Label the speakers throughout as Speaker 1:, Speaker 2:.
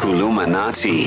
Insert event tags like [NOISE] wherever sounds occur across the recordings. Speaker 1: Kulumanati.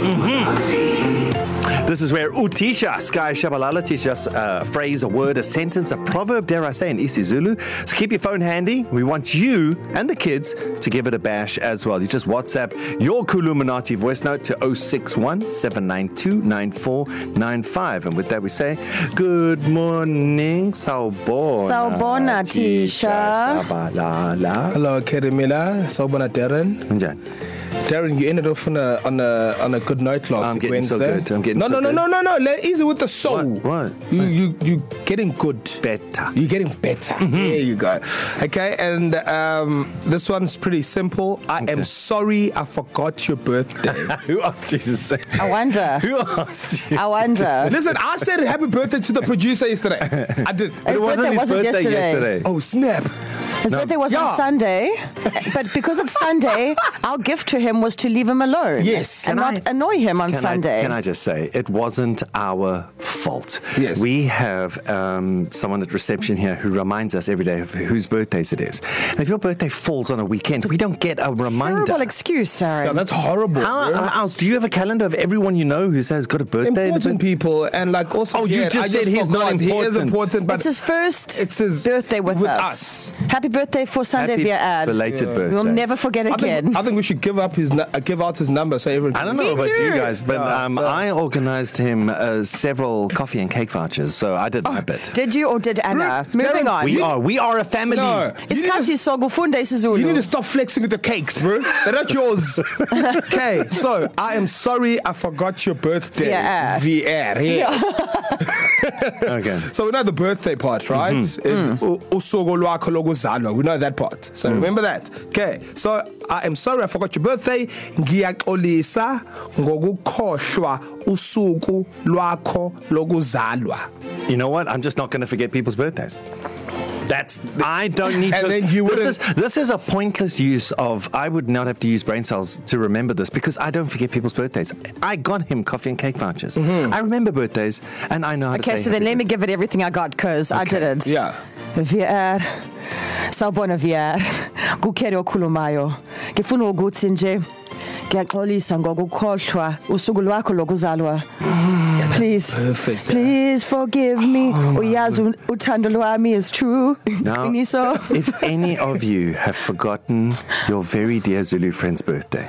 Speaker 2: This is where Utisha Sky Shabalala teaches us a phrase, a word, a sentence, a proverb, dare I say, in isiZulu. So keep your phone handy. We want you and the kids to give it a bash as well. You just WhatsApp your Kuluminati voice note to 061 792 9495. And with that, we say, Good morning, Saubona.
Speaker 3: Sawubona, Tisha.
Speaker 2: Shabalala.
Speaker 4: Hello, Kerry Miller. Sobona Darren.
Speaker 2: Njani?
Speaker 4: Darren, you ended off on a on a on a good note last
Speaker 2: I'm
Speaker 4: week
Speaker 2: getting so
Speaker 4: Wednesday.
Speaker 2: good, I'm getting
Speaker 4: no,
Speaker 2: so
Speaker 4: no, no,
Speaker 2: good.
Speaker 4: no, no, no, no. Easy with the soul.
Speaker 2: What? What?
Speaker 4: You you you getting good.
Speaker 2: Better. [LAUGHS]
Speaker 4: You're getting better. Mm-hmm. There you go. Okay, and um, this one's pretty simple. I okay. am sorry I forgot your birthday.
Speaker 2: [LAUGHS] Who asked you to say?
Speaker 3: I wonder.
Speaker 2: Who asked you?
Speaker 3: I
Speaker 4: [LAUGHS]
Speaker 3: wonder.
Speaker 4: Listen, I said happy birthday to the producer yesterday. I did.
Speaker 3: His birthday wasn't yesterday.
Speaker 4: Oh snap!
Speaker 3: His no. birthday was yeah.
Speaker 4: Yeah.
Speaker 3: on Sunday, but because it's
Speaker 4: [LAUGHS]
Speaker 3: Sunday, our gift to him was to leave him alone.
Speaker 4: Yes.
Speaker 3: and
Speaker 2: Can
Speaker 3: not
Speaker 2: I-
Speaker 3: annoy him on
Speaker 2: Can
Speaker 3: Sunday.
Speaker 2: I, can I just say, it wasn't our fault.
Speaker 4: Yes.
Speaker 2: We have um, someone at reception here who reminds us every day of whose birthdays it is. And if your birthday falls on a weekend, we don't get a reminder.
Speaker 3: Terrible excuse,
Speaker 4: Yeah,
Speaker 3: Darren.
Speaker 4: that's horrible.
Speaker 2: How,
Speaker 4: bro.
Speaker 2: how else? Do you have a calendar of everyone you know who says got a birthday?
Speaker 4: important people and like also.
Speaker 2: Oh, you
Speaker 4: yeah,
Speaker 2: just
Speaker 4: I
Speaker 2: said he's not
Speaker 4: forgot. He is
Speaker 2: important.
Speaker 4: important, but
Speaker 3: it's his first
Speaker 4: it's his-
Speaker 3: birthday with,
Speaker 4: with
Speaker 3: us.
Speaker 4: us.
Speaker 3: Happy birthday for Sunday
Speaker 2: Happy
Speaker 3: via ad.
Speaker 2: belated yeah. birthday.
Speaker 3: We'll never forget
Speaker 4: I
Speaker 3: again.
Speaker 4: think, I think we should give up his nu- uh, give out his number so everyone.
Speaker 2: I
Speaker 4: can-
Speaker 2: don't know
Speaker 3: Me
Speaker 2: about you
Speaker 3: too.
Speaker 2: guys, but
Speaker 4: Yeah,
Speaker 2: um,
Speaker 4: so-
Speaker 2: I organised him uh, several coffee and cake vouchers, so I did
Speaker 3: Oh,
Speaker 2: my bit.
Speaker 3: Did you or did Anna?
Speaker 4: Darren,
Speaker 3: Moving
Speaker 4: Darren,
Speaker 3: on.
Speaker 2: We are we are a family.
Speaker 4: No, you need,
Speaker 3: Isikhathi
Speaker 4: to,
Speaker 3: sokufunda
Speaker 4: you need to
Speaker 3: isiZulu.
Speaker 4: stop flexing with the cakes, bro. They're not
Speaker 3: [LAUGHS]
Speaker 4: yours. okay, so I am sorry I forgot your birthday.
Speaker 3: VR.
Speaker 4: VR, yes. Yeah.
Speaker 2: Okay.
Speaker 4: So we know the birthday part, right? Mm-hmm. Usugo lwakho lokuzalwa. We know that part. So mm. remember that. Okay. So I am sorry I forgot your birthday. Ngiyaxolisa ngokukhohlwa usuku lwakho lokuzalwa.
Speaker 2: You know what? I'm just not going to forget people's birthdays. That's I don't need.
Speaker 4: [LAUGHS] And
Speaker 2: to,
Speaker 4: then you
Speaker 2: this is
Speaker 4: wouldn't-
Speaker 2: this is a pointless use of. I would not have to use brain cells to remember this because I don't forget people's birthdays. I got him coffee and cake vouchers. Mm-hmm. I remember birthdays and I know how to
Speaker 3: Okay,
Speaker 2: say.
Speaker 3: so then
Speaker 2: happy
Speaker 3: let me give it everything I got because okay. I didn't.
Speaker 4: Yeah.
Speaker 3: VR sawubona VR kukerry okhulumayo ngifuna ukuthi nje ngiyaxolisa ngokukhohlwa usuku lwakho lokuzalwa please
Speaker 4: perfect.
Speaker 3: please forgive me uyazi u- uthando lwami is true
Speaker 2: Now,
Speaker 3: qiniso
Speaker 2: [LAUGHS] if any of you have forgotten your very dear Zulu friend's birthday,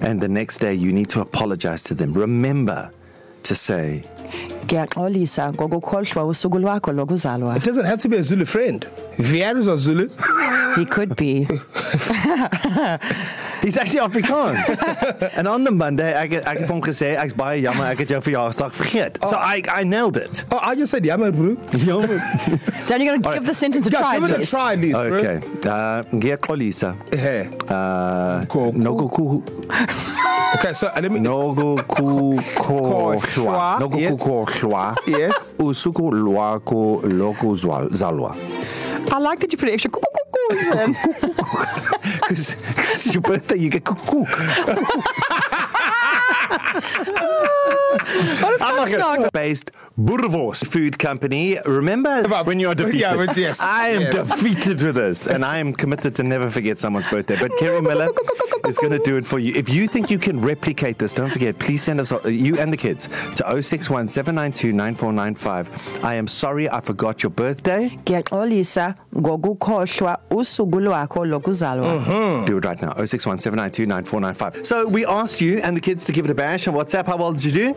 Speaker 2: and the next day you need to apologize to them, remember to say,
Speaker 3: ngiyaxolisa ngokukhohlwa usuku lwakho lokuzalwa
Speaker 4: It doesn't have to be a Zulu friend. VR is a Zulu.
Speaker 3: he could be
Speaker 2: He's actually Afrikaans. and on the Monday, ek het- ek het hom gesê ek's baie jammer ek het jou verjaarsdag vergeet. So I I nailed it.
Speaker 4: Oh, I just said Yama, bro.
Speaker 2: Jammer.
Speaker 3: Dan you're going to give the sentence a try
Speaker 4: Yeah, give it a
Speaker 3: please.
Speaker 4: try, at least, bro.
Speaker 2: okay. Uh ngiyaxolisa.
Speaker 4: Hey.
Speaker 2: Uh
Speaker 4: Go-
Speaker 2: nokuku
Speaker 4: Okay, so uh, let me.
Speaker 2: nokukukhohlwa
Speaker 4: Khohlwa, yes.
Speaker 2: nokukukhohlwa
Speaker 4: Yes.
Speaker 2: usuku lwakho [LAUGHS] lokuzalwa.
Speaker 3: I like that you put an
Speaker 4: [LAUGHS]
Speaker 3: extra kukukukus in
Speaker 2: Cuz it's your birthday you get cuckoo.
Speaker 3: what is Kaksnaaks
Speaker 2: Based Burvos Food Company. Remember
Speaker 4: About-
Speaker 2: when you are defeated?
Speaker 4: Yeah, but yes,
Speaker 2: I am
Speaker 4: yes.
Speaker 2: defeated with this, and I am committed to never forget someone's birthday. But Kerry Miller is going to do it for you. If you think you can replicate this, don't forget. Please send us uh, you and the kids to 0617929495. I am sorry, I forgot your birthday.
Speaker 3: ngiyaxolisa ngokukhohlwa usuku lwakho lokuzalwa
Speaker 2: Do it right now. 0617929495. So we asked you and the kids to give it a bash on WhatsApp. How well did you do?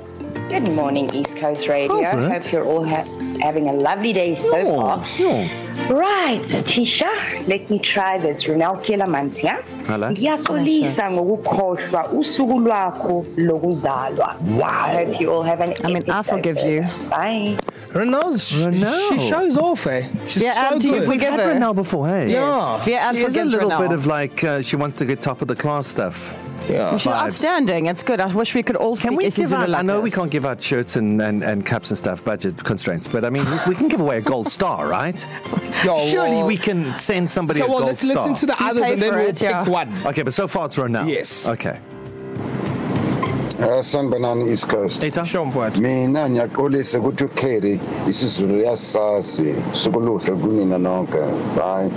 Speaker 5: Good morning, East Coast Radio.
Speaker 2: How's that?
Speaker 5: Hope you're all ha- having a lovely day so
Speaker 2: Oh,
Speaker 5: far.
Speaker 2: yeah.
Speaker 5: Right, Tisha, let me try this. Ronel Kelamansi, yeah?
Speaker 2: Hello.
Speaker 5: Ngiyaxolisa ngokukhohlwa usuku lwakho lokuzalwa. I
Speaker 2: Wow.
Speaker 5: hope you all have an
Speaker 3: I mean, I
Speaker 5: epic day
Speaker 3: forgive you.
Speaker 5: further. Bye.
Speaker 4: Renal's,
Speaker 2: Renal.
Speaker 4: she shows off, eh? She's
Speaker 3: Yeah,
Speaker 4: so
Speaker 3: um, do you
Speaker 4: good.
Speaker 3: forget- Give
Speaker 2: Had
Speaker 3: her.
Speaker 2: Renal before, hey?
Speaker 4: Yeah.
Speaker 2: She
Speaker 3: Via
Speaker 2: is a
Speaker 3: Alphagives
Speaker 2: little
Speaker 3: Renal.
Speaker 2: bit of like uh, she wants to get top of the class stuff.
Speaker 4: Yeah.
Speaker 3: She's outstanding. It's good. I wish we could all speak
Speaker 2: Can we give
Speaker 3: isiZulu
Speaker 2: out?
Speaker 3: like
Speaker 2: I know we
Speaker 3: this.
Speaker 2: can't give out shirts and, and, and caps and stuff, budget constraints. But I mean, we, we can give away a
Speaker 3: [LAUGHS]
Speaker 2: gold star, right?
Speaker 4: Yo,
Speaker 2: Surely
Speaker 4: well-
Speaker 2: we can send somebody
Speaker 4: Okay,
Speaker 2: a
Speaker 4: well,
Speaker 2: gold
Speaker 4: let's
Speaker 2: star.
Speaker 4: listen to the
Speaker 3: You
Speaker 4: others
Speaker 3: pay
Speaker 4: and then
Speaker 3: for
Speaker 4: we'll
Speaker 3: it,
Speaker 4: pick
Speaker 3: yeah.
Speaker 4: one.
Speaker 2: Okay, but so far it's Ronal.
Speaker 4: Yes.
Speaker 2: Okay.
Speaker 6: Uh, Sanibonani East Coast.
Speaker 2: Eta.
Speaker 4: Shomford.
Speaker 6: Mina ngiyaxolisa ukuthi uCarry isiZulu yasazi sokuluhle kunina nonke. Bye.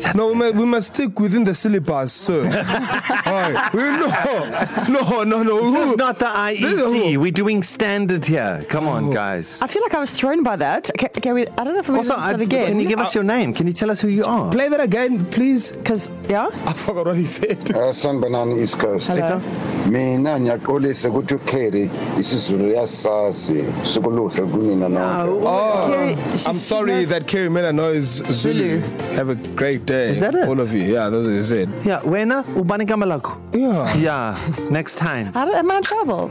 Speaker 2: That's
Speaker 4: No, we must, we must stick within the syllabus, sir. Aye. We- no, no, no, no.
Speaker 2: This is
Speaker 4: Who-
Speaker 2: not the
Speaker 4: This is-
Speaker 2: IEC. We're doing standard here. Come on, guys.
Speaker 3: I feel like I was thrown by that. Can, can we, I don't know if we
Speaker 2: Also,
Speaker 3: can do
Speaker 2: I,
Speaker 3: that again.
Speaker 2: can you give us your name? Can you tell us who you are?
Speaker 4: Play that again, please.
Speaker 3: Because yeah,
Speaker 4: I forgot what he said.
Speaker 6: Uh, sanibonani east coast
Speaker 3: Hello.
Speaker 6: mina ngiyaxolisa ukuthi ucarry isizulu yasazi sikuluhle kumina nonke
Speaker 4: Oh,
Speaker 3: Kerry-
Speaker 4: I'm
Speaker 3: she's-
Speaker 4: sorry
Speaker 3: she knows-
Speaker 4: that Kerry Miller knows Zulu.
Speaker 3: Zulu.
Speaker 4: Have a great day.
Speaker 2: Is that it?
Speaker 4: All of you. Yeah, that's what he said.
Speaker 2: Yeah, wena ubani igama lakho?
Speaker 4: Yeah.
Speaker 2: Yeah, next time.
Speaker 3: I don't, am I in trouble?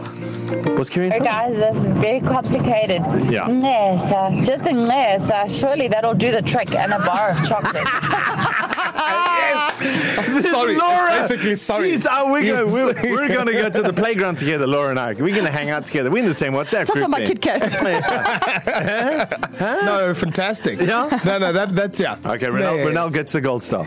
Speaker 2: Was Kieran?
Speaker 1: Hey guys, that's very complicated.
Speaker 2: Yeah.
Speaker 1: Nessa, just a Nessa. Surely that'll do the trick and a bar of
Speaker 3: [LAUGHS]
Speaker 1: chocolate.
Speaker 4: [LAUGHS] Sorry.
Speaker 2: Laura.
Speaker 4: Basically, sorry.
Speaker 2: Jeez, uh, we're, gonna,
Speaker 4: Yes.
Speaker 2: we're, we're gonna go to the playground together, Laura and I. We're gonna hang out together. We're in the same WhatsApp
Speaker 3: That's
Speaker 2: group.
Speaker 3: not my
Speaker 2: thing.
Speaker 3: Kit Kat.
Speaker 4: No, fantastic.
Speaker 2: Yeah?
Speaker 4: No, no, that, that's yeah.
Speaker 2: Okay, Renal,
Speaker 4: Yes.
Speaker 2: Renal gets the gold star.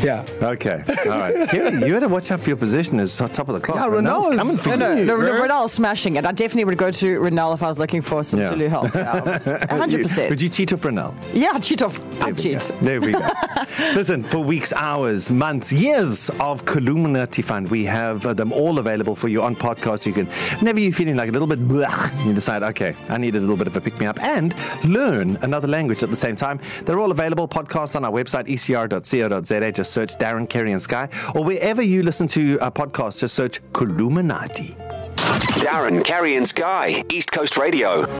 Speaker 4: Yeah.
Speaker 2: Okay, all right. Kieran, you had to watch out for your position as top of the class.
Speaker 4: Yeah, Renal's
Speaker 2: coming [LAUGHS] for
Speaker 4: No,
Speaker 3: No,
Speaker 2: you.
Speaker 3: no, no,
Speaker 4: Really?
Speaker 3: Renal's smashing it. I definitely would go to Renal if I was looking for some
Speaker 2: Yeah.
Speaker 3: yeah.
Speaker 2: [LAUGHS]
Speaker 3: Zulu help. Yeah. A hundred percent.
Speaker 2: Would you cheat off Renal?
Speaker 3: Yeah, I'd cheat off. I'd
Speaker 2: we
Speaker 3: cheat.
Speaker 2: go. There we go. Listen, for weeks, hours, months, years of Columnati Fund, we have uh, them all available for you on podcast. You can, whenever you're feeling like a little bit blech, you decide, okay, I need a little bit of a pick me up and learn another language at the same time. They're all available podcasts on our website, E ecr.co.za. Just search Darren, Kerry, and Sky, or wherever you listen to a podcast, just search Columnati.
Speaker 7: Darren, Carrie, and Sky, East Coast Radio.